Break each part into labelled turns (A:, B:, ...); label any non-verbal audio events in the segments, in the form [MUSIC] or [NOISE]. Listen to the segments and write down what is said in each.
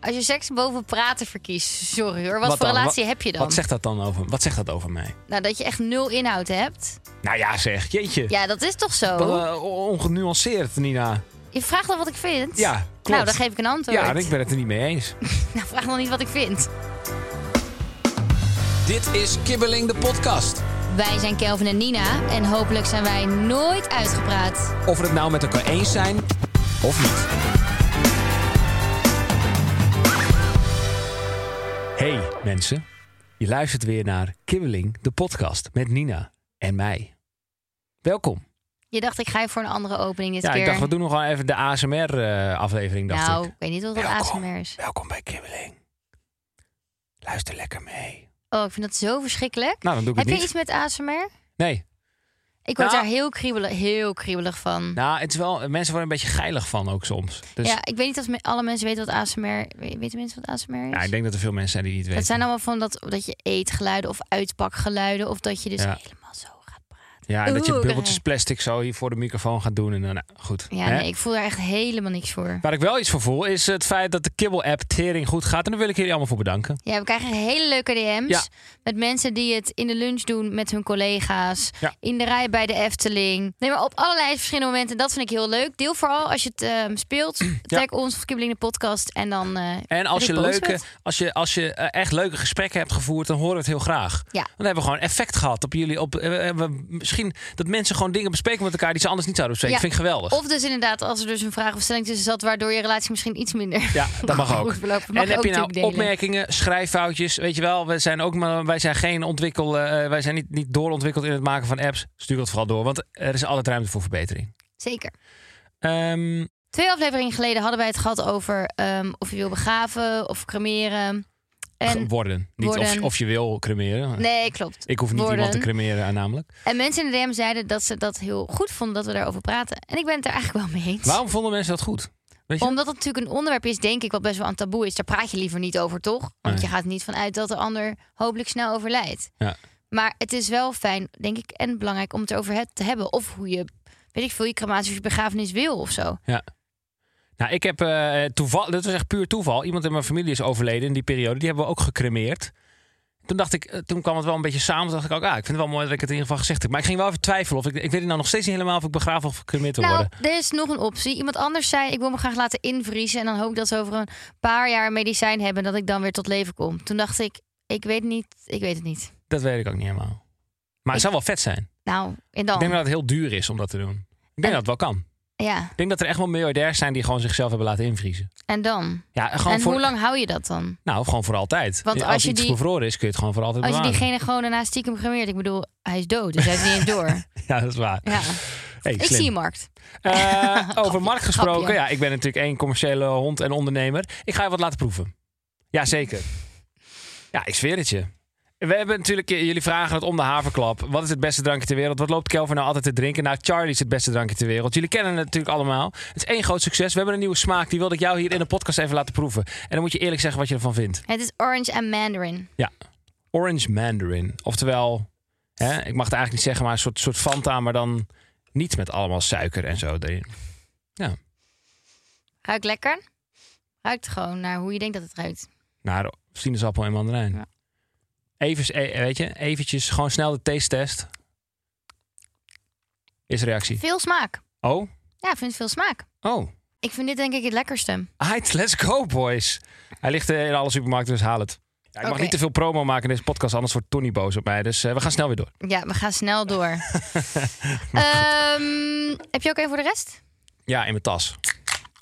A: Als je seks boven praten verkiest, sorry hoor. Wat, voor
B: dan?
A: relatie
B: Wat-
A: heb je dan?
B: Wat zegt dat dan over, wat zegt dat over mij?
A: Nou, dat je echt nul inhoud hebt.
B: Nou ja, zeg, jeetje.
A: Ja, dat is toch zo?
B: Wat, eh, ongenuanceerd, Nina.
A: Je vraagt dan wat ik vind?
B: Ja, klopt.
A: Nou, dan geef ik een antwoord.
B: Ja, en ik ben het er niet mee eens.
A: Nou, vraag dan niet wat ik vind.
C: Dit is Kibbeling de podcast.
A: Wij zijn Kelvin en Nina en hopelijk zijn wij nooit uitgepraat.
C: Of we het nou met elkaar eens zijn of niet.
B: Hey mensen, je luistert weer naar Kibbeling, de podcast met Nina en mij. Welkom.
A: Je dacht, ik ga voor een andere opening dit
B: ja,
A: keer.
B: ik dacht, we doen nog wel even de ASMR-aflevering, eh, dacht
A: nou,
B: ik. oh.
A: ik weet niet wat dat ASMR is.
B: Welkom bij Kibbeling. Luister lekker mee.
A: Oh, ik vind dat zo verschrikkelijk.
B: Nou, dan doe ik
A: heb
B: het
A: je
B: niet.
A: iets met ASMR?
B: Nee.
A: Ik word
B: Nou.
A: daar heel kriebelig, heel kriebelig van.
B: Nou, het is wel, mensen worden een beetje geilig van ook soms. Dus, ja,
A: Ja, ik weet niet of me- alle mensen weten wat ASMR... we- Weten mensen wat ASMR is?
B: ik denk dat er veel mensen zijn die het niet
A: Het
B: weten.
A: zijn allemaal van dat, dat je eetgeluiden of uitpakgeluiden... of dat je dus
B: Ja.
A: helemaal zo gaat praten.
B: Ja, en dat je
A: Oeh,
B: bubbeltjes
A: nee.
B: plastic zo hier voor de microfoon gaat doen. En dan, nou, goed.
A: Ja,
B: Hè?
A: nee, ik voel daar echt helemaal niks voor.
B: Waar ik wel iets voor voel, is het feit dat de Kibbel-app tering goed gaat. En daar wil ik jullie allemaal voor bedanken.
A: Ja, we krijgen hele leuke DM's
B: Ja.
A: met mensen die het in de lunch doen met hun collega's.
B: Ja.
A: In de rij bij de Efteling. Nee, maar op allerlei verschillende momenten. Dat vind ik heel leuk. Deel vooral als je het ehm, speelt. Tag ons of Kibbeling de podcast. En dan... eh,
B: En als je,
A: repost
B: leuke,
A: het.
B: als je, als je eh, echt leuke gesprekken hebt gevoerd, dan horen we het heel graag.
A: Ja.
B: Dan hebben we gewoon effect gehad op jullie. Op, eh, eh, we- misschien dat mensen gewoon dingen bespreken met elkaar die ze anders niet zouden bespreken.
A: Ja.
B: Ik vind ik geweldig.
A: Of dus inderdaad, als er dus een vraag of stelling tussen zat... waardoor je relatie misschien iets minder...
B: Ja, dat mag
A: [LAUGHS]
B: ook.
A: Goed verlopen. Mag
B: en heb
A: ook
B: je nou
A: natuurlijk delen.
B: opmerkingen, schrijffoutjes? Weet je wel, wij zijn, ook, maar wij zijn geen ontwikkel, eh, wij zijn niet, niet doorontwikkeld in het maken van apps. Stuur dat vooral door, want er is altijd ruimte voor verbetering.
A: Zeker.
B: Ehm,
A: Twee afleveringen geleden hadden wij het gehad over ehm, of je wil begraven of cremeren. En,
B: worden. Niet Of, je-
A: worden.
B: of je wil cremeren.
A: nee, klopt.
B: Ik hoef niet
A: Worden.
B: iemand te cremeren, eh, namelijk.
A: En mensen in de DM zeiden dat ze dat heel goed vonden dat we daarover praten. En ik ben het er eigenlijk wel mee eens.
B: Waarom vonden mensen dat goed? Weet je?
A: Omdat het natuurlijk een onderwerp is, denk ik, wat best wel een taboe is. Daar praat je liever niet over, toch? Want
B: Nee.
A: je gaat er niet vanuit dat de ander hopelijk snel overlijdt.
B: Ja.
A: Maar het is wel fijn, denk ik, en belangrijk om het erover he- te hebben. Of hoe je, weet ik veel, je crematie of je begrafenis wil of zo.
B: Nou, ik heb eh toeval, dat was echt puur toeval. Iemand in mijn familie is overleden in die periode. Die hebben we ook gecremeerd. Toen dacht ik, eh, toen kwam het wel een beetje samen. Toen dacht ik ook, ah, ik vind het wel mooi dat ik het in ieder geval gezegd heb. Maar ik ging wel even twijfelen of ik, ik weet het nou nog steeds niet helemaal of ik begraven of gecremeerd wil
A: Nou,
B: worden.
A: er is nog een optie. Iemand anders zei, ik wil me graag laten invriezen. En dan hoop ik dat ze over een paar jaar een medicijn hebben... dat ik dan weer tot leven kom. Toen dacht ik, ik weet niet, ik weet het niet.
B: Dat weet ik ook niet helemaal. Maar het
A: Ik-
B: zou wel vet zijn.
A: Nou, en dan?
B: Ik denk dat het heel duur is om dat te doen. Ik denk
A: En-
B: dat het wel kan.
A: Ja,
B: Ik denk dat er echt wel miljardairs zijn die gewoon zichzelf hebben laten invriezen.
A: en dan?
B: Ja, gewoon
A: en
B: voor,
A: hoe lang hou je dat dan?
B: Nou, gewoon voor altijd.
A: Want
B: als
A: als je
B: iets
A: die-
B: bevroren is, kun je het gewoon voor altijd
A: Als je
B: bewaren.
A: diegene gewoon daarna stiekem gemeerd... Ik bedoel, hij is dood, dus hij heeft niet eens
B: [LAUGHS]
A: door.
B: Ja, dat is waar.
A: Ja.
B: Hey,
A: Ik
B: slim.
A: zie je, markt.
B: Eh,
A: Grapje,
B: over markt gesproken.
A: grapje.
B: Ja, ik ben natuurlijk één commerciële hond en ondernemer. Ik ga je wat laten proeven. Jazeker. Ja, ik zweer het je. We hebben natuurlijk, eh, jullie vragen het om de haverklap. Wat is het beste drankje ter wereld? Wat loopt Kelvin nou altijd te drinken? Nou, Charlie is het beste drankje ter wereld. Jullie kennen het natuurlijk allemaal. Het is één groot succes. We hebben een nieuwe smaak. Die wilde ik jou hier in de podcast even laten proeven. En dan moet je eerlijk zeggen wat je ervan vindt.
A: Het is orange en mandarin.
B: Orange Mandarin. Oftewel, hè, ik mag het eigenlijk niet zeggen, maar een soort, soort Fanta, maar dan niet met allemaal suiker en zo erin.
A: Ruikt lekker. Ruikt gewoon naar hoe je denkt dat het ruikt.
B: Naar sinaasappel en mandarijn.
A: Ja.
B: Even, eh, weet je, eventjes gewoon snel de taste-test. Is reactie.
A: Veel smaak.
B: Oh,
A: Ja, ik vind het veel smaak.
B: oh.
A: Ik vind dit denk ik het lekkerste.
B: Right, let's go, boys. Hij ligt eh, in alle supermarkten, dus haal het. Ja, ik mag
A: Oké.
B: niet te veel promo maken in deze podcast, anders wordt Tony boos op mij. Dus eh, we gaan snel weer door.
A: Ja, we gaan snel door.
B: [LAUGHS]
A: Ehm, heb je ook één voor de rest?
B: Ja, in mijn tas.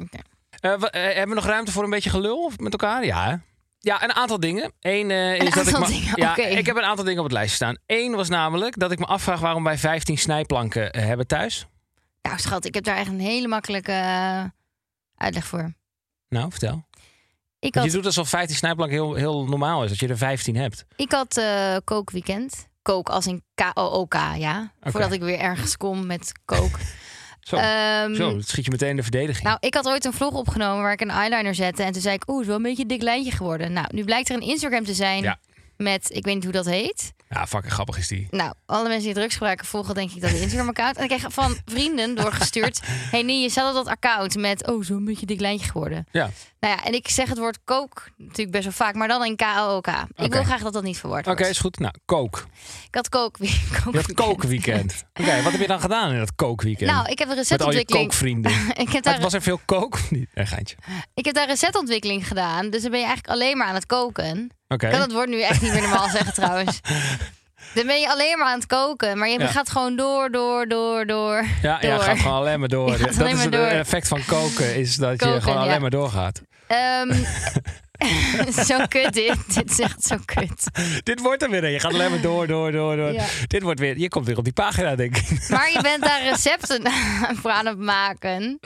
A: Oké.
B: Eh, wa- eh, hebben we nog ruimte voor een beetje gelul of met elkaar? Ja, hè? Ja, een aantal dingen. Eén eh, is
A: Een
B: dat ik
A: aantal
B: me-
A: dingen,
B: ja,
A: oké.
B: Ik heb een aantal dingen op het lijstje staan. Eén was namelijk dat ik me afvraag waarom wij 15 snijplanken eh, hebben thuis.
A: Nou, schat, ik heb daar echt een hele makkelijke eh, uitleg voor.
B: Nou, vertel.
A: Ik
B: Want
A: had,
B: je doet alsof 15 snijplanken heel, heel normaal is. Dat je er 15 hebt.
A: ik had eh, kookweekend. Kook als in K-O-O-K, ja.
B: Oké.
A: Voordat ik weer ergens kom met kook.
B: [LAUGHS] Zo,
A: Ehm,
B: zo dat schiet je meteen in de verdediging.
A: Nou, ik had ooit een vlog opgenomen waar ik een eyeliner zette. En toen zei ik, oeh, het is wel een beetje een dik lijntje geworden. Nou, nu blijkt er een Instagram te zijn
B: Ja.
A: met, ik weet niet hoe dat heet.
B: ja, fucking grappig is die.
A: Nou, alle mensen die drugs gebruiken volgen denk ik dat Instagram-account. En ik kreeg van vrienden
B: [LAUGHS]
A: doorgestuurd. hey, nee, je had dat account met, oh, zo'n beetje dik lijntje geworden.
B: Ja,
A: Nou ja, en ik zeg het woord kook natuurlijk best wel vaak, maar dan in K-O-O-K. Ik wil
B: Oké.
A: graag dat dat niet verwoord
B: oké,
A: wordt.
B: is goed. Nou, kook.
A: Ik had kook, [LAUGHS] kook
B: Je had kookweekend. Oké, wat heb je dan gedaan in dat kookweekend?
A: Nou, ik heb een
B: Met al je
A: receptontwikkeling.
B: kookvrienden.
A: [LAUGHS] Ik heb,
B: Maar
A: daar,
B: was er veel kook of niet? Een geintje. Oké.
A: ik heb daar receptontwikkeling gedaan, dus dan ben je eigenlijk alleen maar aan het koken. Ik kan dat woord nu echt niet meer
B: [LAUGHS]
A: normaal zeggen trouwens. Dan ben je alleen maar aan het koken, maar je
B: Ja.
A: gaat gewoon door, door, door, door.
B: Ja, ja,
A: door.
B: gaat gewoon alleen maar door.
A: Je [LAUGHS] gaat
B: dat
A: alleen
B: is
A: maar
B: het
A: door.
B: effect van koken, is dat je
A: Koken,
B: gewoon alleen
A: ja.
B: maar doorgaat.
A: Ehm, [LAUGHS] zo kut dit. Dit is echt zo kut.
B: Dit wordt er weer een. Je gaat alleen maar door, door, door, door.
A: Ja.
B: Dit wordt weer, je komt weer op die pagina, denk ik.
A: Maar je bent daar recepten [LAUGHS] voor aan het maken.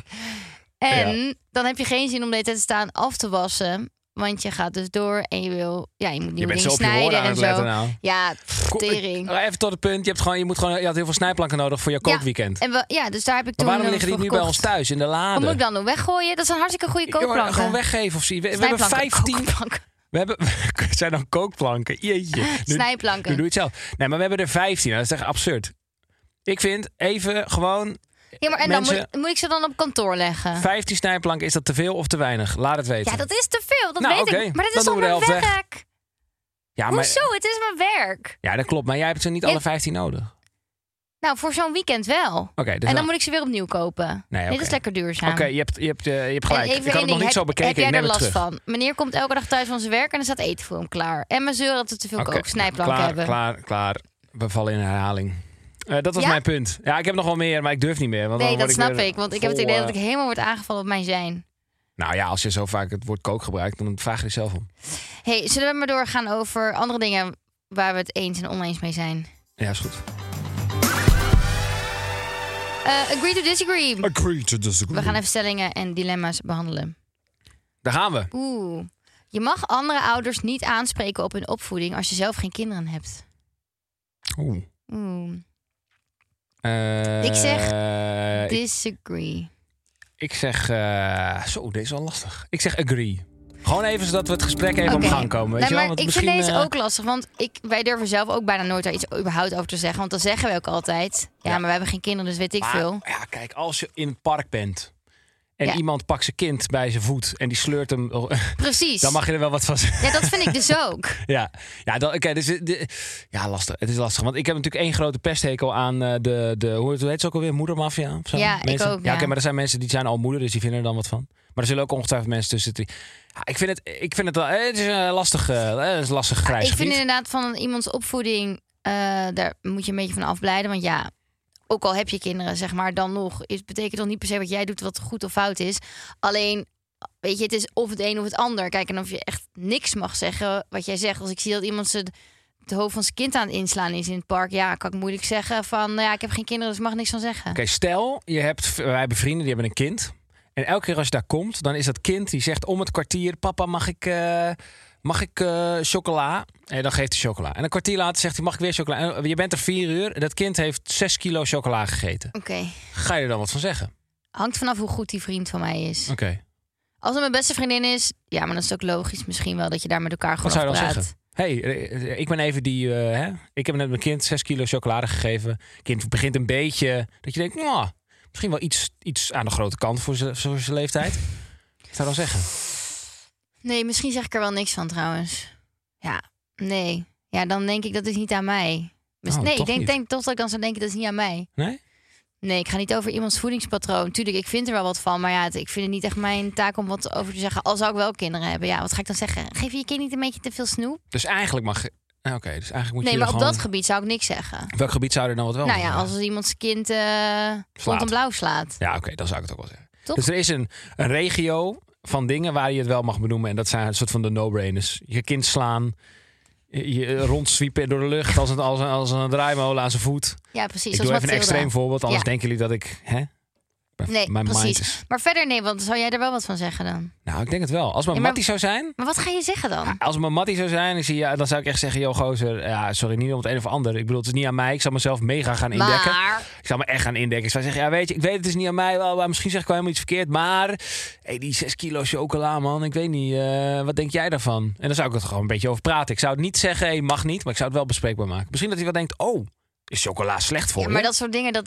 A: En dan heb je geen zin om de hele tijd te staan af te wassen. Want je gaat dus door en je wil... Ja, je moet
B: Je
A: nieuwe
B: bent
A: dingen
B: zo op je
A: snijden
B: woorden aan
A: en
B: het
A: zo.
B: letten nou. eh,
A: Ja, pff, tering.
B: Maar Oh, Even tot het punt, je, hebt gewoon, je, moet gewoon, je had heel veel snijplanken nodig voor je
A: Ja,
B: kookweekend.
A: En we, ja, dus daar heb ik toen
B: maar waarom
A: hem
B: liggen die
A: voor
B: nu bij ons
A: gekocht.
B: thuis in de lade?
A: Wat moet ik dan doen? Weggooien? Dat zijn hartstikke goede
B: Ja, maar
A: koopplanken.
B: gewoon weggeven of zo. We, we hebben
A: Snijplanken,
B: 15.
A: kookplanken,
B: [LAUGHS] We hebben, het zijn dan kookplanken. Jeetje. Nu,
A: Snijplanken.
B: nu doe je het zelf. Nee, maar we hebben er 15. Nou, dat is echt absurd. Ik vind even gewoon
A: Ja, maar en dan
B: Mensen-
A: moet, moet ik ze dan op kantoor leggen?
B: 15 snijplanken. Is dat te veel of te weinig? Laat het weten.
A: Ah. Ja, dat is te veel. Dat
B: Nou,
A: weet
B: oké.
A: ik. Maar dat
B: Dan
A: is toch
B: doen we de
A: mijn
B: helft weg.
A: werk?
B: ja, maar,
A: Hoezo? Het is mijn werk.
B: ja, dat klopt. Maar jij hebt ze niet
A: Je-
B: alle 15 nodig. Oké,
A: Nou, voor zo'n weekend wel.
B: dus
A: en dan
B: wel-
A: moet ik ze weer opnieuw kopen.
B: Nee,
A: Dit
B: oké.
A: is lekker duurzaam.
B: Oké, je, hebt, je, hebt, eh, je hebt
A: En
B: gelijk.
A: even
B: Ik
A: één
B: had het nog
A: ding.
B: niet zo
A: Heb-
B: bekeken.
A: Heb
B: ik
A: jij
B: neem
A: er
B: het
A: last
B: terug.
A: van? Meneer komt elke dag thuis van zijn werk en er staat eten voor hem klaar. En mijn zeur dat we te veel
B: Oké,
A: kooksnijplanken
B: klaar,
A: hebben.
B: Klaar, klaar. We vallen in herhaling. Eh, dat was
A: Ja?
B: mijn punt. Ja, ik heb nog wel meer, maar ik durf niet meer. Want dan
A: Nee, dat
B: word
A: snap
B: weer
A: ik. Want ik heb het
B: vol,
A: idee
B: eh,
A: dat ik helemaal word aangevallen op mijn zijn.
B: Nou ja, als je zo vaak het woord kook gebruikt, dan vraag je er zelf om.
A: hey, zullen we maar doorgaan over andere dingen waar we het eens en oneens mee zijn?
B: Ja, is goed.
A: Eh, agree to disagree.
B: Agree to
A: We gaan even stellingen en dilemma's behandelen.
B: Daar gaan we.
A: Oeh. Je mag andere ouders niet aanspreken op hun opvoeding als je zelf geen kinderen hebt.
B: Oeh.
A: Oeh.
B: Eh,
A: Ik zeg
B: Ik,
A: Disagree.
B: ik zeg... eh, zo, deze is wel lastig. Ik zeg agree. Gewoon even zodat we het gesprek even
A: Oké.
B: op gang komen. Weet
A: Nee,
B: je wel?
A: maar
B: Want
A: ik
B: misschien,
A: vind deze
B: eh,
A: ook lastig, want ik, wij durven zelf ook bijna nooit daar iets überhaupt over te zeggen. Want dan zeggen we ook altijd, ja,
B: Ja.
A: maar we hebben geen kinderen, dus weet ik
B: maar,
A: veel.
B: Ja, kijk, als je in het park bent... en
A: Ja.
B: iemand pakt zijn kind bij zijn voet... en die sleurt hem... [LAUGHS]
A: Precies.
B: dan mag je er wel wat van zeggen.
A: Ja, dat vind ik dus ook.
B: Ja, ja, dan- oké, dus, de- ja, lastig. Het is lastig. Want ik heb natuurlijk één grote pesthekel aan eh, de, de hoe heet ze ook alweer? Moedermafia? of zo?
A: Ja, ik
B: Mensen?
A: ook,
B: Ja,
A: ja.
B: oké, maar er zijn mensen die zijn al moeder, dus die vinden er dan wat van. Maar er zullen ook ongetwijfeld mensen tussen. Die, ja, ik vind het, ik vind het, wel- eh, het is een lastig, eh, het is een lastig grijs
A: ik vind
B: gebied.
A: inderdaad van iemands opvoeding, eh, daar moet je een beetje van afblijden. Want ja, ook al heb je kinderen, zeg maar, dan nog. Het betekent nog niet per se wat jij doet wat goed of fout is. Alleen, weet je, het is of het een of het ander. Kijk, en of je echt niks mag zeggen wat jij zegt. Als ik zie dat iemand ze het hoofd van zijn kind aan het inslaan is in het park. Ja, kan ik moeilijk zeggen van, nou ja, ik heb geen kinderen, dus ik mag niks van zeggen.
B: Oké, stel, je hebt, wij hebben vrienden die hebben een kind. En elke keer als je daar komt, dan is dat kind die zegt om het kwartier: Papa, mag ik, eh, mag ik eh, chocola? En dan geeft hij chocola. En een kwartier later zegt hij: Mag ik weer chocola? En je bent er vier uur. en Dat kind heeft zes kilo chocola gegeten.
A: Oké,
B: Ga je er dan wat van zeggen?
A: hangt vanaf hoe goed die vriend van mij is.
B: Oké.
A: Als het mijn beste vriendin is, ja, maar dan is het ook logisch misschien wel dat je daar met elkaar gewoon
B: Wat zou je dan
A: over
B: zeggen?
A: praat.
B: hey, eh, ik ben even die. eh, hè? Ik heb net mijn kind 6 kilo chocolade gegeven. Kind begint een beetje. Dat je denkt, nou, misschien wel iets, iets aan de grote kant voor zijn voor zijn leeftijd. Wat zou je dan zeggen?
A: Nee, misschien zeg ik er wel niks van trouwens. Ja, nee. Ja, dan denk ik dat is niet aan mij. Mis-
B: Oh,
A: nee,
B: toch
A: ik denk,
B: niet.
A: denk toch dat ik dan zou denken dat is niet aan mij.
B: Nee?
A: Nee, ik ga niet over iemands voedingspatroon. Tuurlijk, ik vind er wel wat van. Maar ja, het- ik vind het niet echt mijn taak om wat over te zeggen. Al zou ik wel kinderen hebben. Ja, wat ga ik dan zeggen? Geef je je kind niet een beetje te veel snoep?
B: Dus eigenlijk mag. je- nou, Oké, dus eigenlijk moet je.
A: nee,
B: hier
A: maar op
B: gewoon- Oh,
A: dat gebied zou ik niks zeggen.
B: Welk gebied zou je er dan wat wel
A: nou
B: van
A: ja,
B: zeggen?
A: als iemands kind eh rond een blauw slaat.
B: Ja, oké, dan zou ik het ook wel zeggen.
A: Toch?
B: Dus er is een, een regio van dingen waar je het wel mag benoemen. En dat zijn een soort van de no-brainers. Je kind slaan, je je rondzwiepen door de lucht als een, als een, als een draaimolen aan zijn voet.
A: Ja, precies.
B: ik
A: zoals
B: doe even
A: Mathilda.
B: een extreem voorbeeld, anders
A: Ja.
B: denken jullie dat ik... Hè? Mijn-
A: Nee,
B: mijn
A: precies.
B: mind is-
A: Maar verder nee, want zou jij er wel wat van zeggen dan?
B: Nou, ik denk het wel. Als mijn
A: Ja, maar-
B: mattie zou zijn...
A: Maar wat ga je zeggen dan?
B: Als mijn mattie zou zijn, ik zie, ja, dan zou ik echt zeggen... Yo, gozer, ja, sorry, niet om het een of ander. Ik bedoel, het is niet aan mij. Ik zal mezelf mega gaan indekken.
A: Maar
B: Ik zou me echt gaan indekken. Ik zou zeggen, ja, weet je, ik weet het is niet aan mij. Wel, maar misschien zeg ik wel helemaal iets verkeerd. Maar hey, die 6 kilo chocola, man, ik weet niet. eh, wat denk jij daarvan? En dan zou ik het gewoon een beetje over praten. Ik zou het niet zeggen, hey, mag niet. Maar ik zou het wel bespreekbaar maken. Misschien dat hij wel denkt, oh, is chocola slecht voor
A: Ja,
B: je?
A: maar dat soort dingen, dat,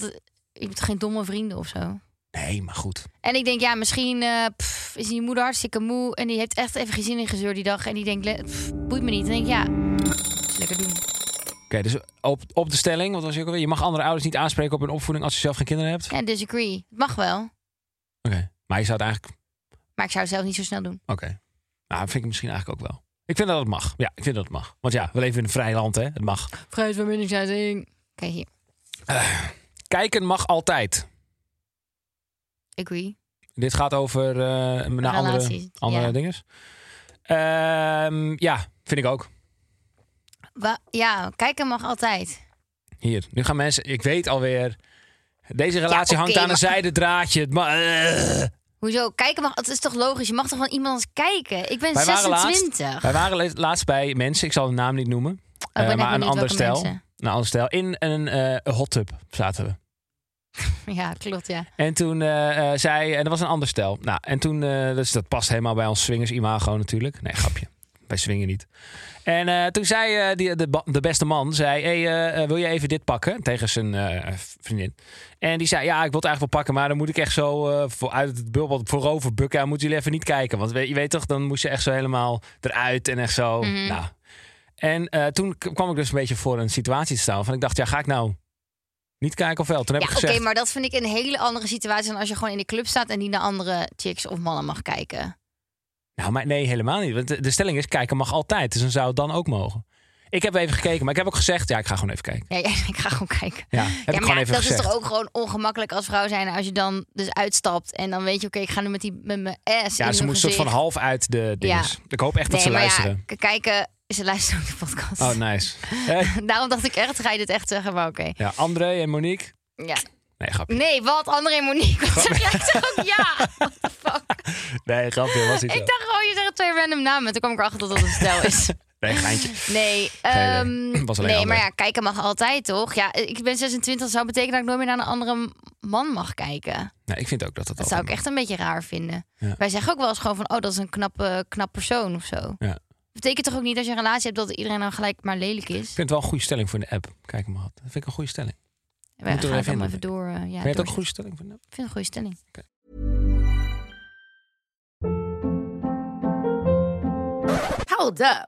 A: je hebt geen domme vrienden of zo.
B: Nee, maar goed.
A: En ik denk, ja, misschien eh, pff, is die moeder hartstikke moe. En die heeft echt even geen zin in gezeur die dag. En die denkt, le- pff, boeit me niet. En dan denk ik, ja, is lekker doen.
B: Oké, dus op, op de stelling, wat was je ook alweer? Je mag andere ouders niet aanspreken op hun opvoeding als je zelf geen kinderen hebt.
A: Ja, disagree. Het mag wel.
B: Oké, maar je zou het eigenlijk...
A: Maar ik zou het zelf niet zo snel doen.
B: Oké. Nou, vind ik misschien eigenlijk ook wel. Ik vind dat het mag. Ja, ik vind dat het mag. Want ja, we leven in een vrij land, hè. Het mag.
A: Vrijheid van meningsuiting. Kijk hier.
B: Kijken mag altijd.
A: Agree.
B: Dit gaat over eh, naar andere,
A: Relaties,
B: andere
A: ja.
B: dingen. Ehm, ja, vind ik ook.
A: Wa- ja, kijken mag altijd.
B: Hier, nu gaan mensen... Ik weet alweer... Deze relatie
A: oké,
B: hangt aan een
A: maar-
B: zijde draadje. Het ma- eh.
A: Hoezo? Kijken mag... Het is toch logisch? Je mag toch van iemand anders kijken? Ik ben
B: Wij waren laatst-
A: 26.
B: Wij waren le- laatst bij mensen, ik zal de naam niet noemen.
A: ben
B: eh,
A: echt
B: maar een
A: benieuwd
B: ander
A: welke
B: stijl.
A: mensen.
B: Een ander stijl. In een eh hot tub zaten we.
A: Ja, klopt, ja.
B: En toen eh, eh, zei... En dat was een ander stel. Nou, en toen... eh, dus dat past helemaal bij ons swingers-imago natuurlijk. Nee, grapje. Wij swingen niet. En eh, toen zei eh, die, de, ba- de beste man... Zei, hey, eh, eh, wil je even dit pakken? Tegen zijn eh, vriendin. En die zei, ja, ik wil het eigenlijk wel pakken... maar dan moet ik echt zo eh, voor, uit het bubbel voorover bukken... en moeten jullie even niet kijken. Want we- je weet toch, dan moest je echt zo helemaal eruit... en echt zo...
A: Mhm.
B: Nou. En eh, toen k- kwam ik dus een beetje voor een situatie te staan... van ik dacht, ja, ga ik nou niet kijken of wel? Toen heb
A: Ja,
B: ik
A: oké,
B: gezegd...
A: maar dat vind ik een hele andere situatie dan als je gewoon in de club staat en niet naar andere chicks of mannen mag kijken.
B: Nou, maar nee, helemaal niet. Want de, de stelling is, kijken mag altijd. Dus dan zou het dan ook mogen. Ik heb even gekeken, maar ik heb ook gezegd... Ja, ik ga gewoon even kijken.
A: Ja, ja, [LAUGHS] ik ga gewoon kijken.
B: Ja, heb ik
A: ja,
B: gewoon
A: ja,
B: even
A: dat
B: gezegd.
A: is toch ook gewoon ongemakkelijk als vrouw zijn als je dan dus uitstapt en dan weet je, oké, ik ga nu met die met mijn ass.
B: ja,
A: in
B: ze
A: hun
B: moest soort van
A: gezicht.
B: half uit de dinges. Ik hoop echt dat ze
A: Nee, maar
B: luisteren.
A: ja, k- kijken, ze luisteren ook de [LAUGHS] podcast.
B: Oh, nice.
A: [LAUGHS]
B: Eh,
A: Daarom dacht ik echt, ga je dit echt zeggen, maar oké.
B: ja, André en Monique.
A: Ja.
B: Nee, grapje.
A: Nee, wat? André en Monique,
B: [LAUGHS]
A: wat zeg jij toch ook ja? What the fuck?
B: Nee, grapje was niet zo.
A: Ik dacht gewoon, je zegt twee random namen. Toen kwam ik erachter dat dat een stel
B: [LAUGHS]
A: is.
B: Nee, geintje.
A: Nee,
B: idee.
A: ehm,
B: eh, [CLEARS THROAT] Was alleen
A: nee
B: André.
A: maar ja, kijken mag altijd, toch? Ja, ik ben 26, dat zou betekenen dat ik nooit meer naar een andere man mag kijken.
B: Nee, ik vind ook dat dat
A: Dat
B: altijd
A: zou ik
B: mag.
A: echt een beetje raar vinden.
B: Ja.
A: Wij zeggen ook wel eens gewoon van, oh, dat is een knappe, knap persoon of zo.
B: Ja.
A: Betekent toch ook niet als je een relatie hebt dat iedereen dan gelijk maar lelijk is?
B: Ik vind het wel een goede stelling voor in de app. Kijk maar. Dat vind ik een goede stelling.
A: We gaan
B: Moeten we
A: het
B: even
A: allemaal
B: in.
A: even door. eh, ja,
B: Vind je het ook
A: door-
B: een goede stelling voor in de app?
A: Ik vind het een goede stelling.
D: Hold up.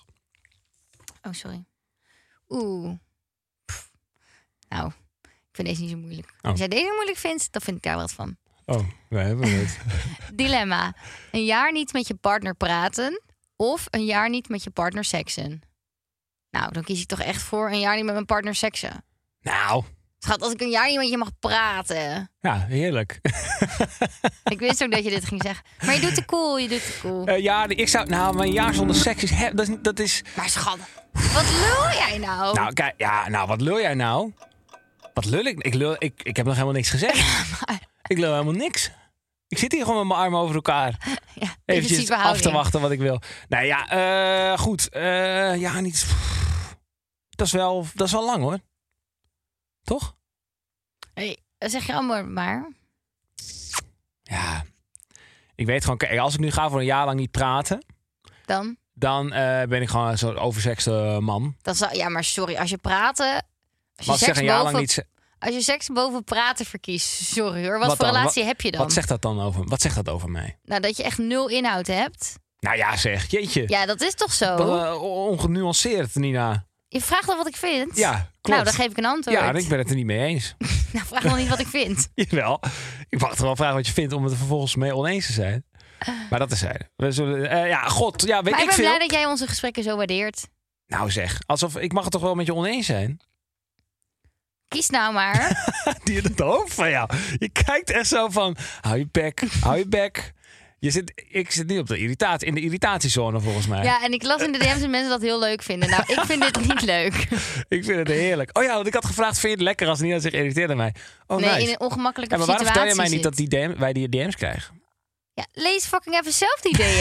A: Oh, sorry. Oeh. Pff. Nou, ik vind deze niet zo moeilijk. Als jij deze moeilijk vindt, dan vind ik daar wat van.
B: Oh, wij hebben het.
A: Dilemma. Een jaar niet met je partner praten of een jaar niet met je partner seksen? Nou, dan kies ik toch echt voor een jaar niet met mijn partner seksen.
B: nou,
A: Schat, als ik een jaar niet met je mag praten.
B: ja, heerlijk.
A: [LAUGHS] Ik wist ook dat je dit ging zeggen. Maar je doet te cool, je doet te cool.
B: Eh, ja, ik zou... Nou, maar een jaar zonder seks is... he- Dat is, dat is
A: Maar schat, wat lul jij nou? [LAUGHS]
B: Nou, kijk, ja, nou, wat lul jij nou? Wat lul ik? Ik, lul, ik, ik heb nog helemaal niks
A: [LAUGHS]
B: gezegd. Ik lul helemaal niks. Ik zit hier gewoon met mijn armen over elkaar.
A: ja,
B: Eventjes
A: defensieve
B: af te
A: houding.
B: wachten wat ik wil. Nou ja, eh, goed. Eh, ja, niet... Dat is, wel, dat is wel lang, hoor. Toch?
A: Hey, zeg je allemaal maar.
B: Ja. Ik weet gewoon... Kijk, als ik nu ga voor een jaar lang niet praten...
A: Dan?
B: dan eh, ben ik gewoon zo'n oversexte man.
A: dan zou, ja, maar sorry, als je praten... Als je,
B: Maar als ik zeg
A: seks
B: een jaar
A: boven,
B: lang niet...
A: als je seks boven praten verkiest, sorry hoor. Wat,
B: Wat
A: voor
B: dan?
A: relatie heb je dan?
B: Wat zegt dat dan over, wat zegt dat over mij?
A: Nou, dat je echt nul inhoud hebt.
B: Nou ja, zeg. Jeetje.
A: Ja, dat is toch zo?
B: Wat, eh, ongenuanceerd, Nina.
A: Je vraagt al wat ik vind.
B: Ja, klopt.
A: Nou, dan geef ik een antwoord.
B: Ja, en ik ben het er niet mee eens.
A: [LAUGHS] Nou, vraag nog niet wat ik vind.
B: [LAUGHS] Jawel. Ik mag toch wel vragen wat je vindt om het er vervolgens mee oneens te zijn. Maar dat is zij. We zullen, eh, ja, god, ja, weet
A: maar ik ben
B: ik veel.
A: blij dat jij onze gesprekken zo waardeert.
B: Nou zeg, alsof ik mag het toch wel met je oneens zijn? [LAUGHS]
A: Kies nou maar.
B: Die in het hoofd van jou. Je kijkt echt zo van, hou je bek, hou je bek. Je zit, ik zit nu op de irritatie, in de irritatiezone volgens mij.
A: ja, en ik las in de DM's dat mensen dat heel leuk vinden. Nou, ik vind dit niet
B: [LAUGHS]
A: leuk.
B: Ik vind het heerlijk. Oh ja, want ik had gevraagd, vind je het lekker als Nina zich irriteerde aan mij? Oh
A: nee,
B: nice.
A: in een ongemakkelijke
B: Ja, maar waarom
A: situatie
B: vertel je mij niet
A: zit.
B: dat die DM, wij die DM's krijgen?
A: Ja, lees fucking even zelf die DM.
B: [LAUGHS] Zou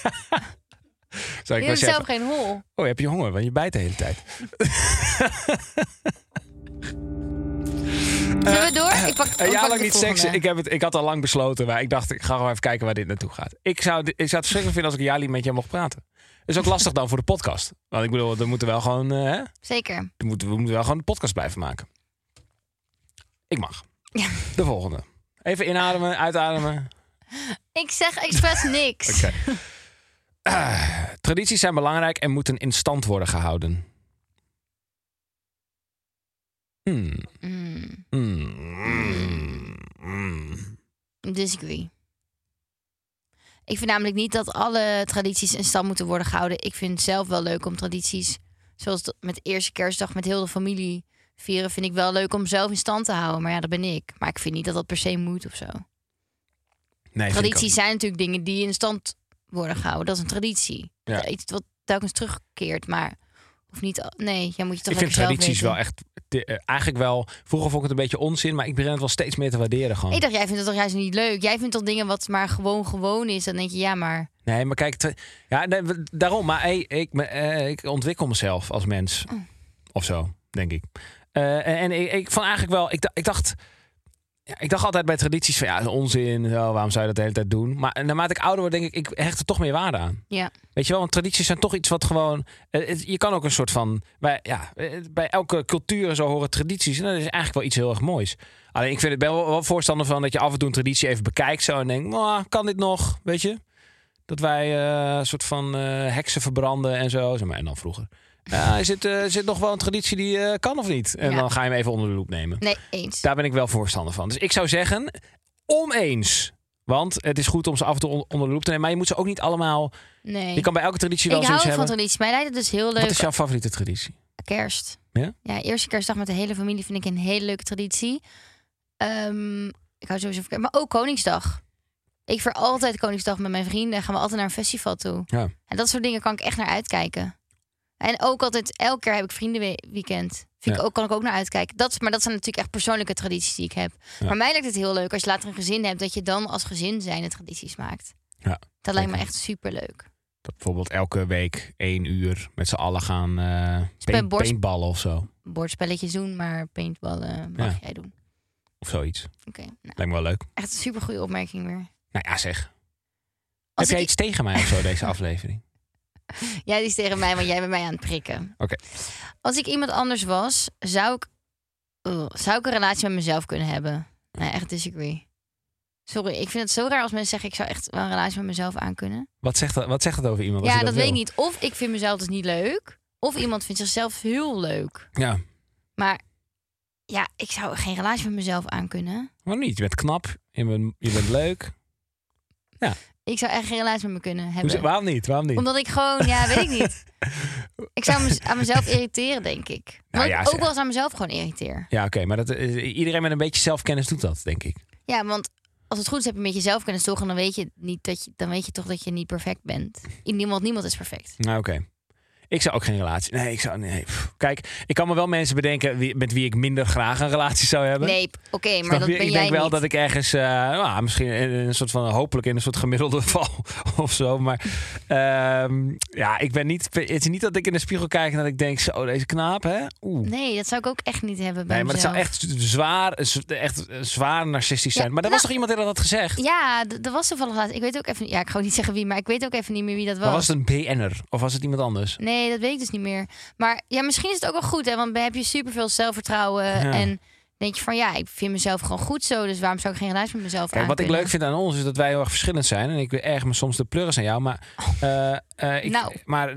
A: Je
B: ik wel
A: hebt zelf
B: zeggen,
A: geen hol.
B: oh heb je honger, want je bijt de hele
A: Oh,
B: tijd. Eh,
A: Zullen we door? Ik pak,
B: Eh,
A: ik
B: ja,
A: pak
B: lang
A: de
B: niet
A: volgende.
B: seksen. Ik, heb het, ik had al lang besloten, maar ik dacht, ik ga gewoon even kijken waar dit naartoe gaat. Ik zou, di- ik zou het verschrikkelijk vinden als ik een jaar niet met jou mocht praten. Is ook lastig dan voor de podcast. Want ik bedoel, we moeten wel gewoon, eh, hè?
A: Zeker.
B: we moeten, we moeten wel gewoon de podcast blijven maken. Ik mag.
A: Ja.
B: De volgende. Even inademen, uitademen.
A: Ik zeg
B: [LAUGHS]
A: expres niks.
B: Oké. Eh, tradities zijn belangrijk en moeten in stand worden gehouden. Hmm.
A: Mm,
B: Hmm. Hmm.
A: disagree. Ik vind namelijk niet dat alle tradities in stand moeten worden gehouden. Ik vind het zelf wel leuk om tradities, zoals dat met eerste kerstdag met heel de familie vieren, vind ik wel leuk om zelf in stand te houden. Maar ja, dat ben ik. Maar ik vind niet dat dat per se moet of zo.
B: Nee, vind ik ook
A: Tradities zijn natuurlijk dingen die in stand worden gehouden. Dat is een traditie.
B: Ja.
A: Iets wat telkens terugkeert, maar of niet. al- Nee, jij moet je toch
B: ik
A: lekker
B: vind
A: zelf
B: tradities
A: weten.
B: wel echt. de- eh, eigenlijk wel. Vroeger vond ik het een beetje onzin, maar ik begin het wel steeds meer te waarderen. Gewoon.
A: Ik dacht, jij vindt het toch juist niet leuk. Jij vindt toch dingen wat maar gewoon gewoon is. Dan denk je, ja, maar
B: Nee, maar kijk, tra- ja, nee, we- daarom. Maar hey, ik, me- eh, ik ontwikkel mezelf als mens.
A: Mm.
B: Of zo, denk ik. Eh, en en ik, ik vond eigenlijk wel. Ik, da- ik dacht. Ja, ik dacht altijd bij tradities van ja, dat is onzin. Zo, waarom zou je dat de hele tijd doen? Maar naarmate ik ouder word, denk ik, ik hecht er toch meer waarde aan.
A: ja.
B: Weet je wel, want tradities zijn toch iets wat gewoon. eh, het- je kan ook een soort van. Bij, ja, eh, bij elke cultuur en zo horen tradities. En dat is eigenlijk wel iets heel erg moois. Alleen ik vind het wel, wel voorstander van dat je af en toe een traditie even bekijkt. Zo en denkt, nou, kan dit nog? Weet je? Dat wij eh, een soort van eh, heksen verbranden en zo. Zeg maar, en dan vroeger. Ja, is het, eh, is het nog wel een traditie die eh, kan of niet? En
A: Ja.
B: dan ga je hem even onder de loep nemen.
A: Nee, eens.
B: Daar ben ik wel voorstander van. Dus ik zou zeggen, oneens. Want het is goed om ze af en toe on- onder de loep te nemen. Maar je moet ze ook niet allemaal...
A: nee.
B: Je kan bij elke
A: ik
B: traditie wel
A: hou
B: zoiets
A: van
B: hebben.
A: tradities. Mij lijkt het dus heel leuk.
B: Wat is jouw favoriete traditie?
A: Kerst.
B: Ja?
A: eerste kerstdag met de hele familie vind ik een hele leuke traditie. Ehm, ik hou sowieso van kerst. Maar ook Koningsdag. Ik ver altijd Koningsdag met mijn vrienden. Gaan we altijd naar een festival toe.
B: Ja.
A: En dat soort dingen kan ik echt naar uitkijken. En ook altijd, elke keer heb ik vriendenweekend. Vind ik
B: Ja.
A: ook, kan ik ook naar uitkijken. Dat, is- maar dat zijn natuurlijk echt persoonlijke tradities die ik heb.
B: Ja.
A: Maar mij lijkt het heel leuk als je later een gezin hebt... dat je dan als gezin zijnde tradities maakt.
B: Ja,
A: Dat lijkt me
B: zeker.
A: echt superleuk.
B: Dat bijvoorbeeld elke week één uur met z'n allen gaan eh paint,
A: borst-
B: paintballen of zo.
A: Bordspelletjes doen, maar paintballen mag
B: Ja.
A: jij doen.
B: Of zoiets.
A: Oké, nou,
B: Lijkt me wel leuk.
A: echt een supergoeie opmerking weer.
B: Nou ja, zeg.
A: Als
B: Heb jij
A: ik-
B: iets tegen mij of zo
A: [LAUGHS]
B: deze aflevering?
A: Jij is tegen mij, want jij bent mij aan het prikken.
B: Oké.
A: Als ik iemand anders was, zou ik, Ugh, zou ik een relatie met mezelf kunnen hebben? Nee, echt disagree. Sorry, ik vind het zo raar als mensen zeggen... ik zou echt wel een relatie met mezelf aankunnen.
B: Wat zegt dat, wat zegt dat over iemand? als
A: ja,
B: je
A: dat weet ik
B: wil?
A: niet. Of ik vind mezelf dus niet leuk... of iemand vindt zichzelf heel leuk.
B: Ja,
A: Maar ja, ik zou geen relatie met mezelf aankunnen.
B: waarom niet? Je bent knap, je bent, je bent leuk.
A: Ik zou echt geen relatie met me kunnen hebben.
B: Hoezo- waarom niet? Waarom niet?
A: Omdat ik gewoon, ja, weet ik
B: [LAUGHS]
A: niet. Ik zou me aan mezelf irriteren, denk ik. Want
B: Nou ja,
A: ik
B: zeg.
A: ook wel eens aan mezelf gewoon irriteer.
B: Ja, oké, maar dat, eh, iedereen met een beetje zelfkennis doet dat, denk ik.
A: Ja, want als het goed is heb je met jezelf kunnen zorgen, dan weet je niet dat je, dan weet je toch dat je niet perfect bent. Niemand, niemand is perfect.
B: Nou, oké. Ik zou ook geen relatie. Nee, ik zou. Nee. pff. Kijk, ik kan me wel mensen bedenken wie- met wie ik minder graag een relatie zou hebben.
A: Nee, p- oké, maar
B: Snap
A: dat
B: je?
A: ben
B: ik
A: jij
B: denk wel
A: niet.
B: dat ik ergens, eh, nou, misschien in een soort van, hopelijk in een soort gemiddelde [LAUGHS] val of zo. Maar ehm, ja, ik ben niet, het is niet dat ik in de spiegel kijk en dat ik denk, zo, deze knaap, hè? Oeh. Nee,
A: Nee, dat zou ik ook echt niet hebben bij
B: maar het zou
A: mezelf.
B: echt zwaar, eh, echt zwaar narcistisch zijn.
A: Ja, nou
B: maar er was toch iemand die dat had gezegd?
A: Ja, d- er was toevallig laatst. Ik weet ook even niet. Ja, ik ga ook niet zeggen wie, maar ik weet ook even niet meer wie dat was.
B: Maar was het een BN'er of was het iemand anders?
A: Nee, dat weet ik dus niet meer. Maar ja, misschien is het ook wel goed, hè? Want dan heb je superveel zelfvertrouwen
B: Ja.
A: en denk je van ja, ik vind mezelf gewoon goed zo. Dus waarom zou ik geen relatie met mezelf
B: Kijk, wat ik
A: aankunnen?
B: leuk vind aan ons is dat wij heel erg verschillend zijn. En ik erg me soms de pleuris aan jou. Maar, eh, eh, ik,
A: Nou.
B: maar, [LAUGHS] ja,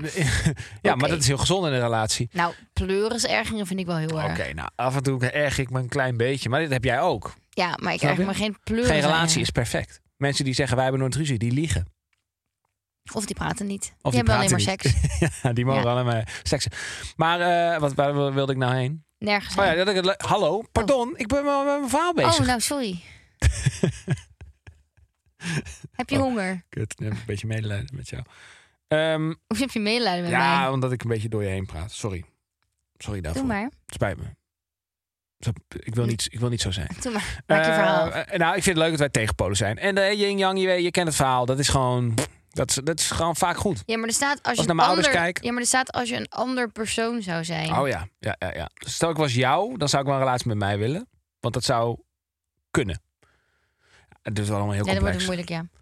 A: Oké.
B: maar dat is heel gezond in een relatie.
A: Nou, pleurensergingen vind ik wel heel
B: Oké,
A: erg.
B: nou af en toe erg ik me een klein beetje. Maar dit heb jij ook.
A: Ja, maar ik
B: Snap
A: erger
B: je?
A: me geen pleuris.
B: Geen
A: aan.
B: relatie is perfect. Mensen die zeggen wij hebben nooit ruzie, die liegen.
A: Of die praten niet.
B: Of
A: die,
B: die
A: hebben alleen maar
B: praten
A: seks.
B: [LAUGHS] Ja, die mogen
A: Ja.
B: alleen maar seksen. Maar eh, wat, waar wilde ik nou heen?
A: Nergens.
B: Oh ja,
A: heen.
B: dat ik het le- Hallo, pardon, ik ben wel met mijn verhaal bezig.
A: oh nou,
B: [LAUGHS]
A: sorry. heb je
B: Oh.
A: honger?
B: Kut, dan heb ik een beetje medelijden met jou. Ehm,
A: Of heb je medelijden met
B: ja, oh, nou,
A: mij?
B: omdat ik een beetje door je heen praat. Sorry. Sorry daarvoor.
A: Doe maar. Hm.
B: Het Spijt me. Zo- Ik wil niet, ik wil niet zo zijn.
A: Doe maar. Maak je
B: Eh,
A: verhaal.
B: eh, nou, ik vind het leuk dat wij tegenpolen zijn. En de yin-yang, je, weet- je kent het verhaal. Dat is gewoon... Dat is, dat is gewoon vaak goed.
A: Ja, maar er staat als je
B: Als ik
A: een
B: naar mijn
A: ander.
B: ouders kijk.
A: Ja, maar er staat als je een ander persoon zou zijn.
B: Oh ja. Ja, ja, ja. Dus Stel ik was jou, dan zou ik wel een relatie met mij willen. Want dat zou kunnen. Het is wel allemaal heel
A: ja, dat wordt het
B: complex.
A: moeilijk. Ja.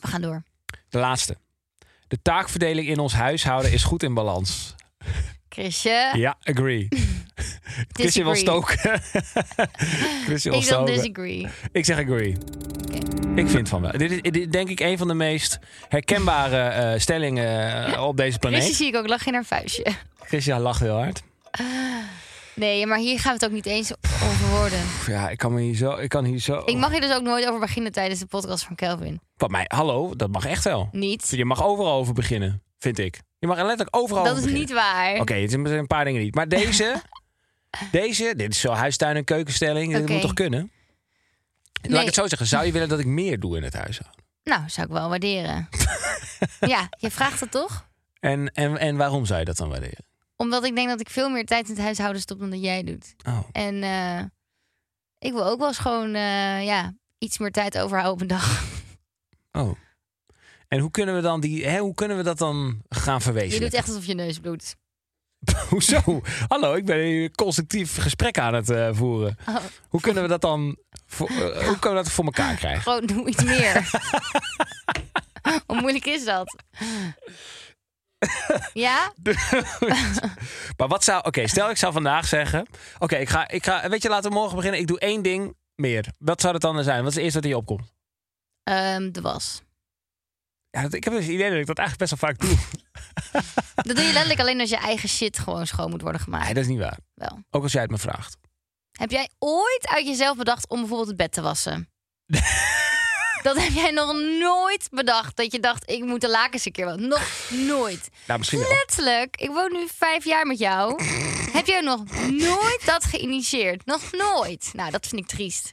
A: We gaan door.
B: De laatste. De taakverdeling in ons huishouden is goed in balans.
A: Chrisje,
B: Ja,
A: [LAUGHS]
B: agree. Chrisje wil
A: disagree. [LAUGHS]
B: stoken. Chrisje wil
A: Ik wil
B: stoken.
A: disagree.
B: Ik zeg agree. Ik vind van wel. Dit is, dit is denk ik een van de meest herkenbare eh, stellingen eh, op deze
A: Chrisje
B: planeet.
A: zie ik ook lachen in haar vuistje.
B: Christian lacht heel hard.
A: Nee, maar hier gaan we het ook niet eens over worden.
B: Pff, ja, ik kan me hier zo... Ik kan hier zo...
A: Ik mag hier dus ook nooit over beginnen tijdens de podcast van Kelvin.
B: Wat mij... Hallo, dat mag echt wel.
A: Niet.
B: Je mag overal over beginnen, vind ik. Je mag er letterlijk overal
A: Dat
B: over
A: is
B: beginnen.
A: niet waar.
B: Oké, het zijn een paar dingen niet. Maar
A: [LAUGHS]
B: deze, deze, dit is zo huistuin- en keukenstelling. Dat
A: Oké.
B: moet toch kunnen? Laat
A: Nee.
B: ik het zo zeggen. Zou je willen dat ik meer doe in het huis?
A: Nou, zou ik wel waarderen. ja, je vraagt het toch?
B: En, en, en waarom zou je dat dan waarderen?
A: Omdat ik denk dat ik veel meer tijd in het huishouden stop dan dat jij doet.
B: Oh,
A: En eh, ik wil ook wel eens gewoon eh, ja, iets meer tijd overhouden op een dag.
B: oh. En hoe kunnen we dan die, hè, hoe kunnen we dat dan gaan
A: Je doet
B: verwezenlijken?
A: echt alsof je neus bloedt.
B: [LAUGHS] Hoezo? Hallo, ik ben hier constructief gesprek aan het eh, voeren.
A: Oh.
B: Hoe kunnen we dat dan voor, eh, hoe kunnen we dat voor elkaar krijgen?
A: Gewoon doe iets meer. Hoe moeilijk is dat? ja?
B: [LAUGHS] Maar wat zou, oké, stel ik zou vandaag zeggen, oké, ik ga, ik ga, weet je, laten we morgen beginnen. Ik doe één ding meer. Wat zou dat dan zijn? Wat is het eerste dat in je opkomt?
A: Ehm, de was.
B: Ja, dat- ik heb dus het idee dat ik dat eigenlijk best wel vaak doe.
A: Dat doe je letterlijk alleen als je eigen shit gewoon schoon moet worden gemaakt.
B: [LAUGHS] Nee, dat is niet waar.
A: Wel.
B: Ook als jij het me vraagt.
A: Heb jij ooit uit jezelf bedacht om bijvoorbeeld het bed te
B: [LAUGHS]
A: wassen? dat heb jij nog nooit bedacht. Dat je dacht, ik moet de lakens een keer wel. Nog nooit.
B: Nou, misschien wel.
A: Letterlijk, ik woon nu vijf jaar met jou.
B: [LAUGHS]
A: heb jij nog nooit dat geïnitieerd? Nog nooit. Nou, dat vind ik triest.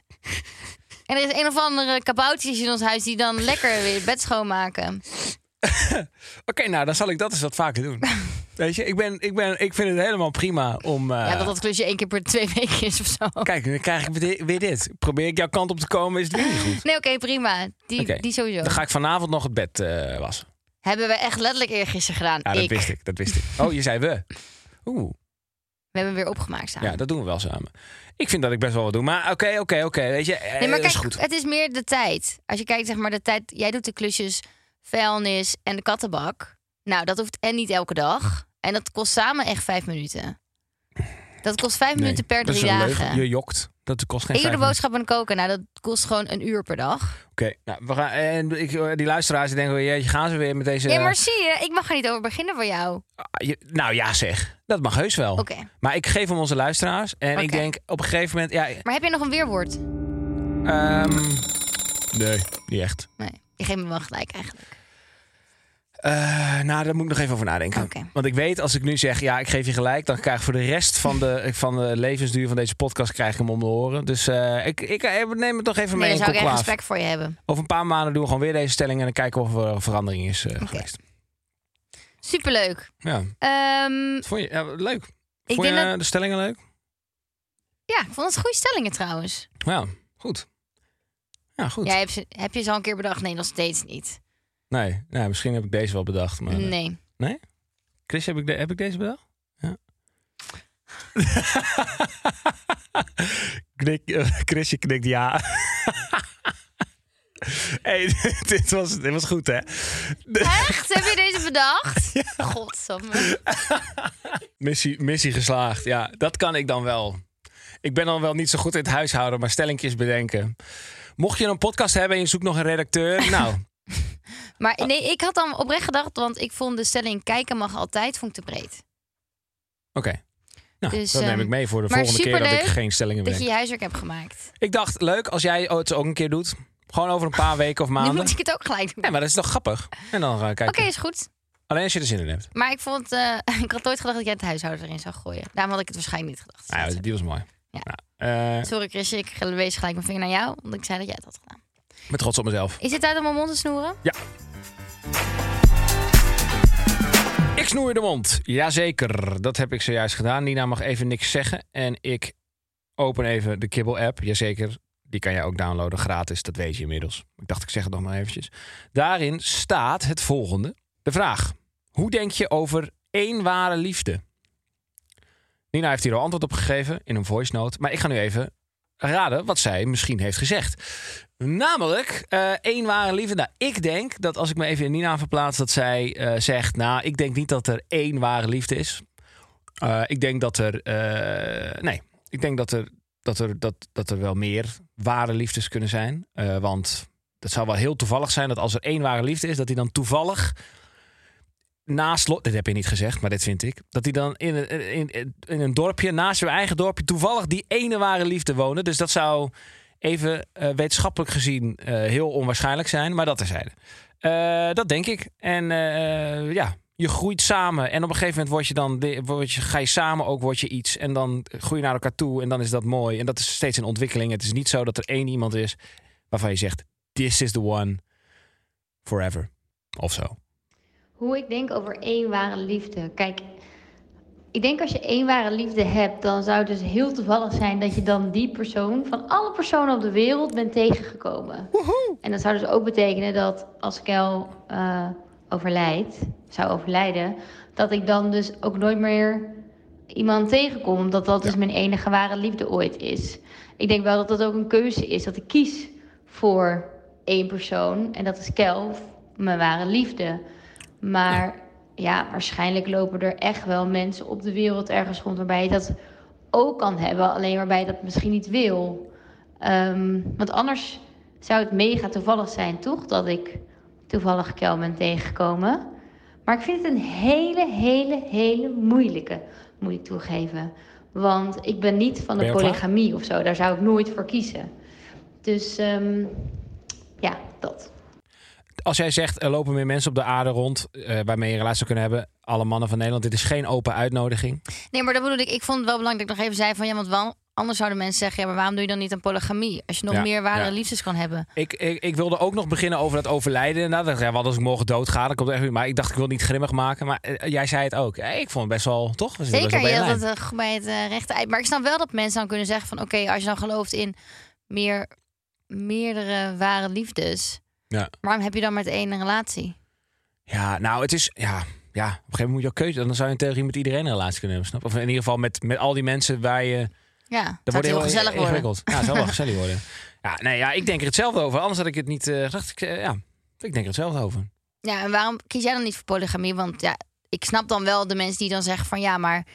A: En er is een of andere kaboutertjes in ons huis die dan lekker weer het bed schoonmaken.
B: Oké, nou, dan zal ik dat eens wat vaker [LAUGHS] doen. Weet je, ik, ben, ik, ben, ik vind het helemaal prima om... eh,
A: Ja, dat dat klusje één keer per twee weken is of zo.
B: Kijk, dan krijg ik weer di- weer dit. Probeer ik jouw kant op te komen, is het weer niet goed.
A: Nee, oké, prima. Die,
B: Oké.
A: die sowieso.
B: Dan ga ik vanavond nog het bed eh, wassen.
A: Hebben we echt letterlijk eergisteren gedaan.
B: Ja, dat
A: ik.
B: wist ik, dat wist ik. [LAUGHS] Oh, je zei we. Oeh,
A: We hebben hem weer opgemaakt samen.
B: ja, dat doen we wel samen. Ik vind dat ik best wel wat doe, maar oké, oké, oké. weet je, eh,
A: nee, maar
B: dat
A: kijk,
B: is goed.
A: het is meer de tijd. Als je kijkt, zeg maar, de tijd... Jij doet de klusjes vuilnis en de kattenbak. Nou, dat hoeft en niet elke dag. En dat kost samen echt vijf minuten. Dat kost vijf
B: Nee,
A: minuten per
B: dat is
A: drie
B: een
A: dagen.
B: leugen. Je jokt. Dat kost geen
A: Ik doe de
B: vijf minuten.
A: boodschap en koken. Nou, dat kost gewoon een uur per dag.
B: Oké, nou, we gaan, en ik, eh, die luisteraars die denken, jeetje, gaan ze weer met deze...
A: Ja, maar zie je, ik mag er niet over beginnen voor jou.
B: Ah, je- nou ja, zeg. Dat mag heus wel.
A: Oké.
B: Maar ik geef hem onze luisteraars. En ik
A: Oké.
B: denk op een gegeven moment. Ja,
A: Maar heb jij nog een weerwoord?
B: ehm, nee, niet echt.
A: Nee, je geeft me wel gelijk eigenlijk.
B: Eh, nou, daar moet ik nog even over nadenken.
A: Oké.
B: Want ik weet als ik nu zeg, ja, ik geef je gelijk. dan krijg ik voor de rest
A: [LAUGHS]
B: van de, van de levensduur van deze podcast. krijg ik hem om de oren. Dus eh, ik, ik eh, neem het nog even
A: Nee, dan
B: mee. in
A: zou ik echt
B: conclave.
A: respect voor je hebben.
B: Over een paar maanden doen we gewoon weer deze stelling. en dan kijken of er verandering is eh, geweest.
A: Superleuk.
B: Ja,
A: Ehm,
B: dat vond je ja, leuk?
A: ik
B: vond je
A: denk dat...
B: eh, de stellingen leuk?
A: Ja, ik vond het goede stellingen trouwens.
B: Ja, goed. Ja, goed.
A: Jij hebt, ze- heb je ze al een keer bedacht? Nee, nog steeds niet.
B: Nee, nou, misschien heb ik deze wel bedacht. Maar, eh,
A: Nee.
B: Chris, heb ik, de- heb ik deze bedacht? Ja. [LAUGHS] Knik, eh, Chrisje knikt [LAUGHS] ja. hey, [LAUGHS] dit- dit, was, dit was goed, hè?
A: Echt? heb je deze
B: [LAUGHS]
A: bedacht? Godsamme.
B: Missie, missie geslaagd. Ja, dat kan ik dan wel. Ik ben dan wel niet zo goed in het huishouden, maar stellingjes bedenken. Mocht je een podcast hebben en je zoekt nog een [LAUGHS] redacteur, nou,
A: Maar nee, ik had dan oprecht gedacht, want ik vond de stelling kijken mag altijd, vond ik te breed.
B: Oké. Nou,
A: Dus,
B: dat neem
A: ehm,
B: ik mee voor de
A: maar
B: volgende keer dat ik
A: superleuk
B: geen stellingen
A: Dat
B: bedenk.
A: je je huiswerk hebt gemaakt.
B: Ik dacht, leuk als jij het ook een keer doet. Gewoon over een paar
A: [LAUGHS]
B: weken of
A: Nu
B: maanden.
A: moet ik het ook gelijk doen.
B: Nee, maar dat is toch grappig? En dan gaan we kijken.
A: Oké, is goed.
B: Alleen als je er zin in hebt.
A: Maar ik vond, eh, [LAUGHS] ik had nooit gedacht dat jij het huishouden erin zou gooien. Daarom had ik het waarschijnlijk niet gedacht.
B: Nou ja, die was mooi.
A: Ja.
B: Nou, eh,
A: Sorry Chris, ik wees gelijk mijn vinger naar jou, omdat ik zei dat jij het had gedaan.
B: ik ben trots op mezelf.
A: Is het tijd om mijn mond te snoeren?
B: Ik snoer de mond. Jazeker, dat heb ik zojuist gedaan. Nina mag even niks zeggen. En ik open even de Kibbel-app. Jazeker, die kan jij ook downloaden gratis. Dat weet je inmiddels. Ik dacht, ik zeg het nog maar eventjes. Daarin staat het volgende. De vraag. Hoe denk je over één ware liefde? Nina heeft hier al antwoord op gegeven in een voice note. Maar ik ga nu even raden wat zij misschien heeft gezegd. Namelijk, eh één ware liefde. Nou, ik denk dat als ik me even in Nina verplaats, dat zij eh, zegt... Nou, ik denk niet dat er één ware liefde is. Eh, ik denk dat er... eh, nee, ik denk dat er, dat, er, dat, dat er wel meer ware liefdes kunnen zijn. Eh, want dat zou wel heel toevallig zijn dat als er één ware liefde is... dat die dan toevallig naast... Lo- Dit heb je niet gezegd, maar dit vind ik. Dat die dan in, een- in, in een dorpje, naast hun eigen dorpje... toevallig die ene ware liefde wonen. Dus dat zou even eh, wetenschappelijk gezien eh, heel onwaarschijnlijk zijn, maar dat terzijde. Eh dat denk ik. En eh, ja, je groeit samen. En op een gegeven moment word je dan, de- word je, ga je samen ook word je iets. En dan groei je naar elkaar toe en dan is dat mooi. En dat is steeds een ontwikkeling. Het is niet zo dat er één iemand is waarvan je zegt: This is the one forever. Of zo.
E: Hoe ik denk over één ware liefde. Kijk, ik denk als je één ware liefde hebt, dan zou het dus heel toevallig zijn dat je dan die persoon van alle personen op de wereld bent tegengekomen. En dat zou dus ook betekenen dat als Kel eh, overlijdt, zou overlijden, dat ik dan dus ook nooit meer iemand tegenkom, omdat dat dus mijn enige ware liefde ooit is. Ik denk wel dat dat ook een keuze is, dat ik kies voor één persoon en dat is Kel, mijn ware liefde. Maar ja, waarschijnlijk lopen er echt wel mensen op de wereld ergens rond waarbij je dat ook kan hebben, alleen waarbij je dat misschien niet wil. Ehm, want anders zou het mega toevallig zijn, toch? Dat ik toevallig Kel ben tegengekomen. Maar ik vind het een hele, hele, hele moeilijke, moet ik toegeven. Want ik ben niet van
B: Ben
E: de
B: je al klaar?
E: polygamie of zo. Daar zou ik nooit voor kiezen. Dus ehm, ja, dat.
B: Als jij zegt, er lopen meer mensen op de aarde rond eh, waarmee je een relatie zou kunnen hebben, alle mannen van Nederland, dit is geen open uitnodiging.
A: Nee, maar dat bedoel ik. Ik vond het wel belangrijk dat ik nog even zei van ja, want wel, anders zouden mensen zeggen, ja, maar waarom doe je dan niet een polygamie? Als je nog
B: Ja,
A: meer ware
B: ja.
A: liefdes kan hebben.
B: Ik, ik, ik wilde ook nog beginnen over dat overlijden. Nou, dat, ja, wat als ik morgen doodga? Dan komt er echt, maar ik dacht, ik wil het niet grimmig maken. Maar eh, jij zei het ook. Eh, ik vond het best wel, toch? We zitten best
A: Zeker,
B: wel bij
A: je had
B: een lijn.
A: het eh, bij het eh, rechte eind. Maar ik snap wel dat mensen dan kunnen zeggen van oké, als je dan gelooft in meer, meerdere ware liefdes,
B: Ja.
A: waarom heb je dan met één een relatie?
B: Ja, nou, het is... Ja, ja, op een gegeven moment moet je ook keuze... Dan zou je in theorie met iedereen een relatie kunnen hebben, snap je? Of in ieder geval met, met al die mensen waar je...
A: Ja, dat wordt heel, gezellig worden.
B: ingewikkeld. Ja, het
A: [LAUGHS]
B: zou wel gezellig worden. Ja, nee, ja, ik denk er hetzelfde over. Anders had ik het niet eh gedacht. Ik, eh, ja, ik denk er hetzelfde over.
A: Ja, en waarom kies jij dan niet voor polygamie? Want ja, ik snap dan wel de mensen die dan zeggen van ja, maar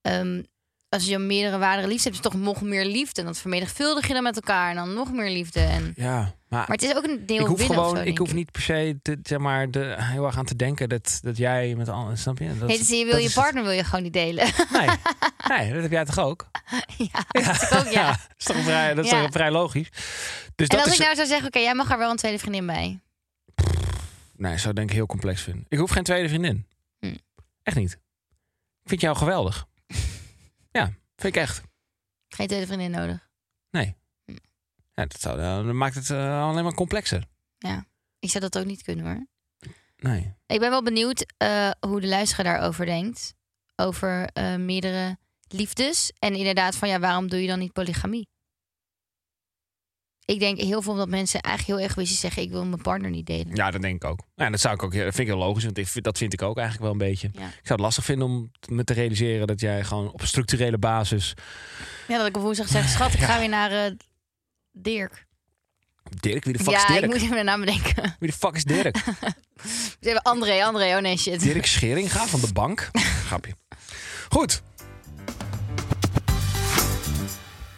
A: ehm, als je meerdere ware liefdes hebt, is het toch nog meer liefde. En dat vermenigvuldig je dan met elkaar en dan nog meer liefde. En,
B: Ja, maar...
A: maar het is ook een deel
B: ik hoef
A: winnen of
B: gewoon,
A: zo,
B: ik
A: denk
B: hoef niet per se te, zeg maar, de, heel erg aan te denken dat, dat jij met al, snap je? Dat,
A: Nee, dus je wil
B: dat
A: je
B: is het.
A: partner wil je gewoon niet delen. [LAUGHS]
B: Nee. nee, dat heb jij toch ook?
A: ja, [LAUGHS] dat is ook, ja.
B: [LAUGHS] Ja, dat is toch vrij, dat is
A: Ja.
B: toch vrij logisch. Dus
A: en
B: dat
A: als
B: is,
A: ik nou zou zeggen, oké, jij mag er wel een tweede vriendin bij. nou-
B: Nee, zou ik denk ik heel complex vinden. Ik hoef geen tweede vriendin.
A: Hm.
B: Echt niet. Ik vind
A: [LAUGHS]
B: jou geweldig. ja, vind ik echt.
A: Geen tweede vriendin nodig.
B: Ja, dat, zou, dat maakt het eh, alleen maar complexer.
A: Ik zou dat ook niet kunnen hoor.
B: Nee.
A: Ik ben wel benieuwd eh, hoe de luisteraar daarover denkt. Over eh, meerdere liefdes. En inderdaad, van ja, waarom doe je dan niet polygamie? Ik denk heel veel omdat mensen eigenlijk heel egoïstisch zeggen: ik wil mijn partner niet delen.
B: Ja, dat denk ik ook. Nou Ja, dat, zou ik ook dat vind ik heel logisch, want ik vind- dat vind ik ook eigenlijk wel een beetje.
A: Ja.
B: Ik zou het lastig vinden om t- me te realiseren dat jij gewoon op structurele basis...
A: Ja, dat ik op woensdag zeg: schat, ik ga weer naar eh, Dirk.
B: Dirk, wie de fuck
A: ja,
B: is Dirk?
A: ik moet even een naam bedenken. [LAUGHS]
B: Wie de fuck is Dirk?
A: Ze hebben André, André, oh nee, shit.
B: Dirk Scheringa van de bank. Grapje. Goed.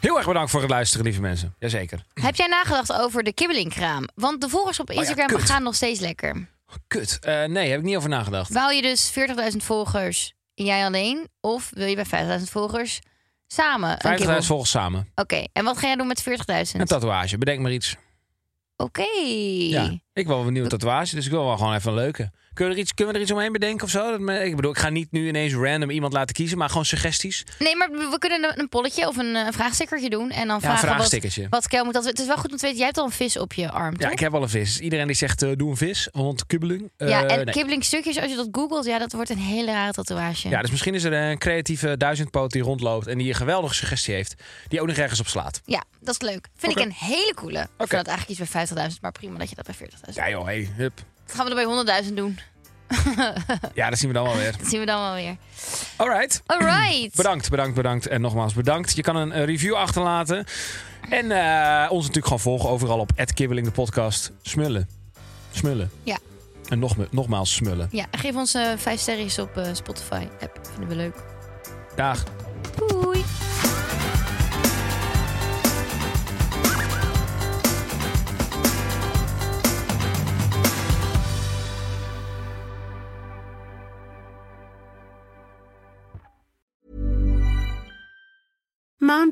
B: Heel erg bedankt voor het luisteren, lieve mensen. Jazeker.
A: Heb jij nagedacht over de kibbelingkraam? Want de volgers op Instagram
B: Oh kut.
A: gaan nog steeds lekker.
B: Kut. Eh, nee, heb ik niet over nagedacht.
A: Wou je dus 40.000 volgers en jij alleen? Of wil je bij 50.000 volgers samen een
B: 50.000
A: kibbel? Oké,
B: volgens samen.
A: en wat ga jij doen met 40.000? Oké.
B: Een tatoeage. Bedenk maar iets. Ja. Ik wil wel een nieuwe tatoeage, dus ik wil wel gewoon even een leuke. Kunnen we er iets, kunnen we er iets omheen bedenken of zo? Dat me- ik bedoel, ik ga niet nu ineens random iemand laten kiezen, maar gewoon suggesties.
A: Nee, maar we we kunnen een- een polletje of een, eh, een vraagstickertje doen. En dan
B: Ja, een
A: vragen wat,
B: vraagstickertje.
A: wat Kel moet. Dat, het is wel goed om te weten, jij hebt al een vis op je arm,
B: Ja,
A: toch?
B: ik heb wel een vis. Iedereen die zegt, eh, doe een vis, want kubbeling. Eh,
A: ja, en
B: nee.
A: kibbelingstukjes, als je dat googelt, ja, dat wordt een hele rare tatoeage.
B: Ja, dus misschien is er een creatieve duizendpoot die rondloopt en die een geweldige suggestie heeft, die ook nog ergens op slaat.
A: Ja, dat is leuk. Vind
B: Oké.
A: ik een hele coole. Ik
B: Oké.
A: vind dat eigenlijk iets bij 50.000, maar prima dat je dat bij 40.000
B: Ja joh, hey, hup.
A: Dat gaan we er bij 100.000 doen.
B: Ja, dat zien we dan wel weer.
A: Dat zien we dan wel weer.
B: Alright.
A: Alright.
B: Bedankt, bedankt, bedankt. En nogmaals bedankt. Je kan een eh, review achterlaten. En eh, ons natuurlijk gewoon volgen overal op kibbeling de podcast. Smullen. Smullen.
A: Ja.
B: En nog, nogmaals smullen.
A: Ja, geef ons eh, vijf 5 sterretjes op eh, Spotify. App. Vinden we leuk.
B: Dag.
A: Doei.
F: Mom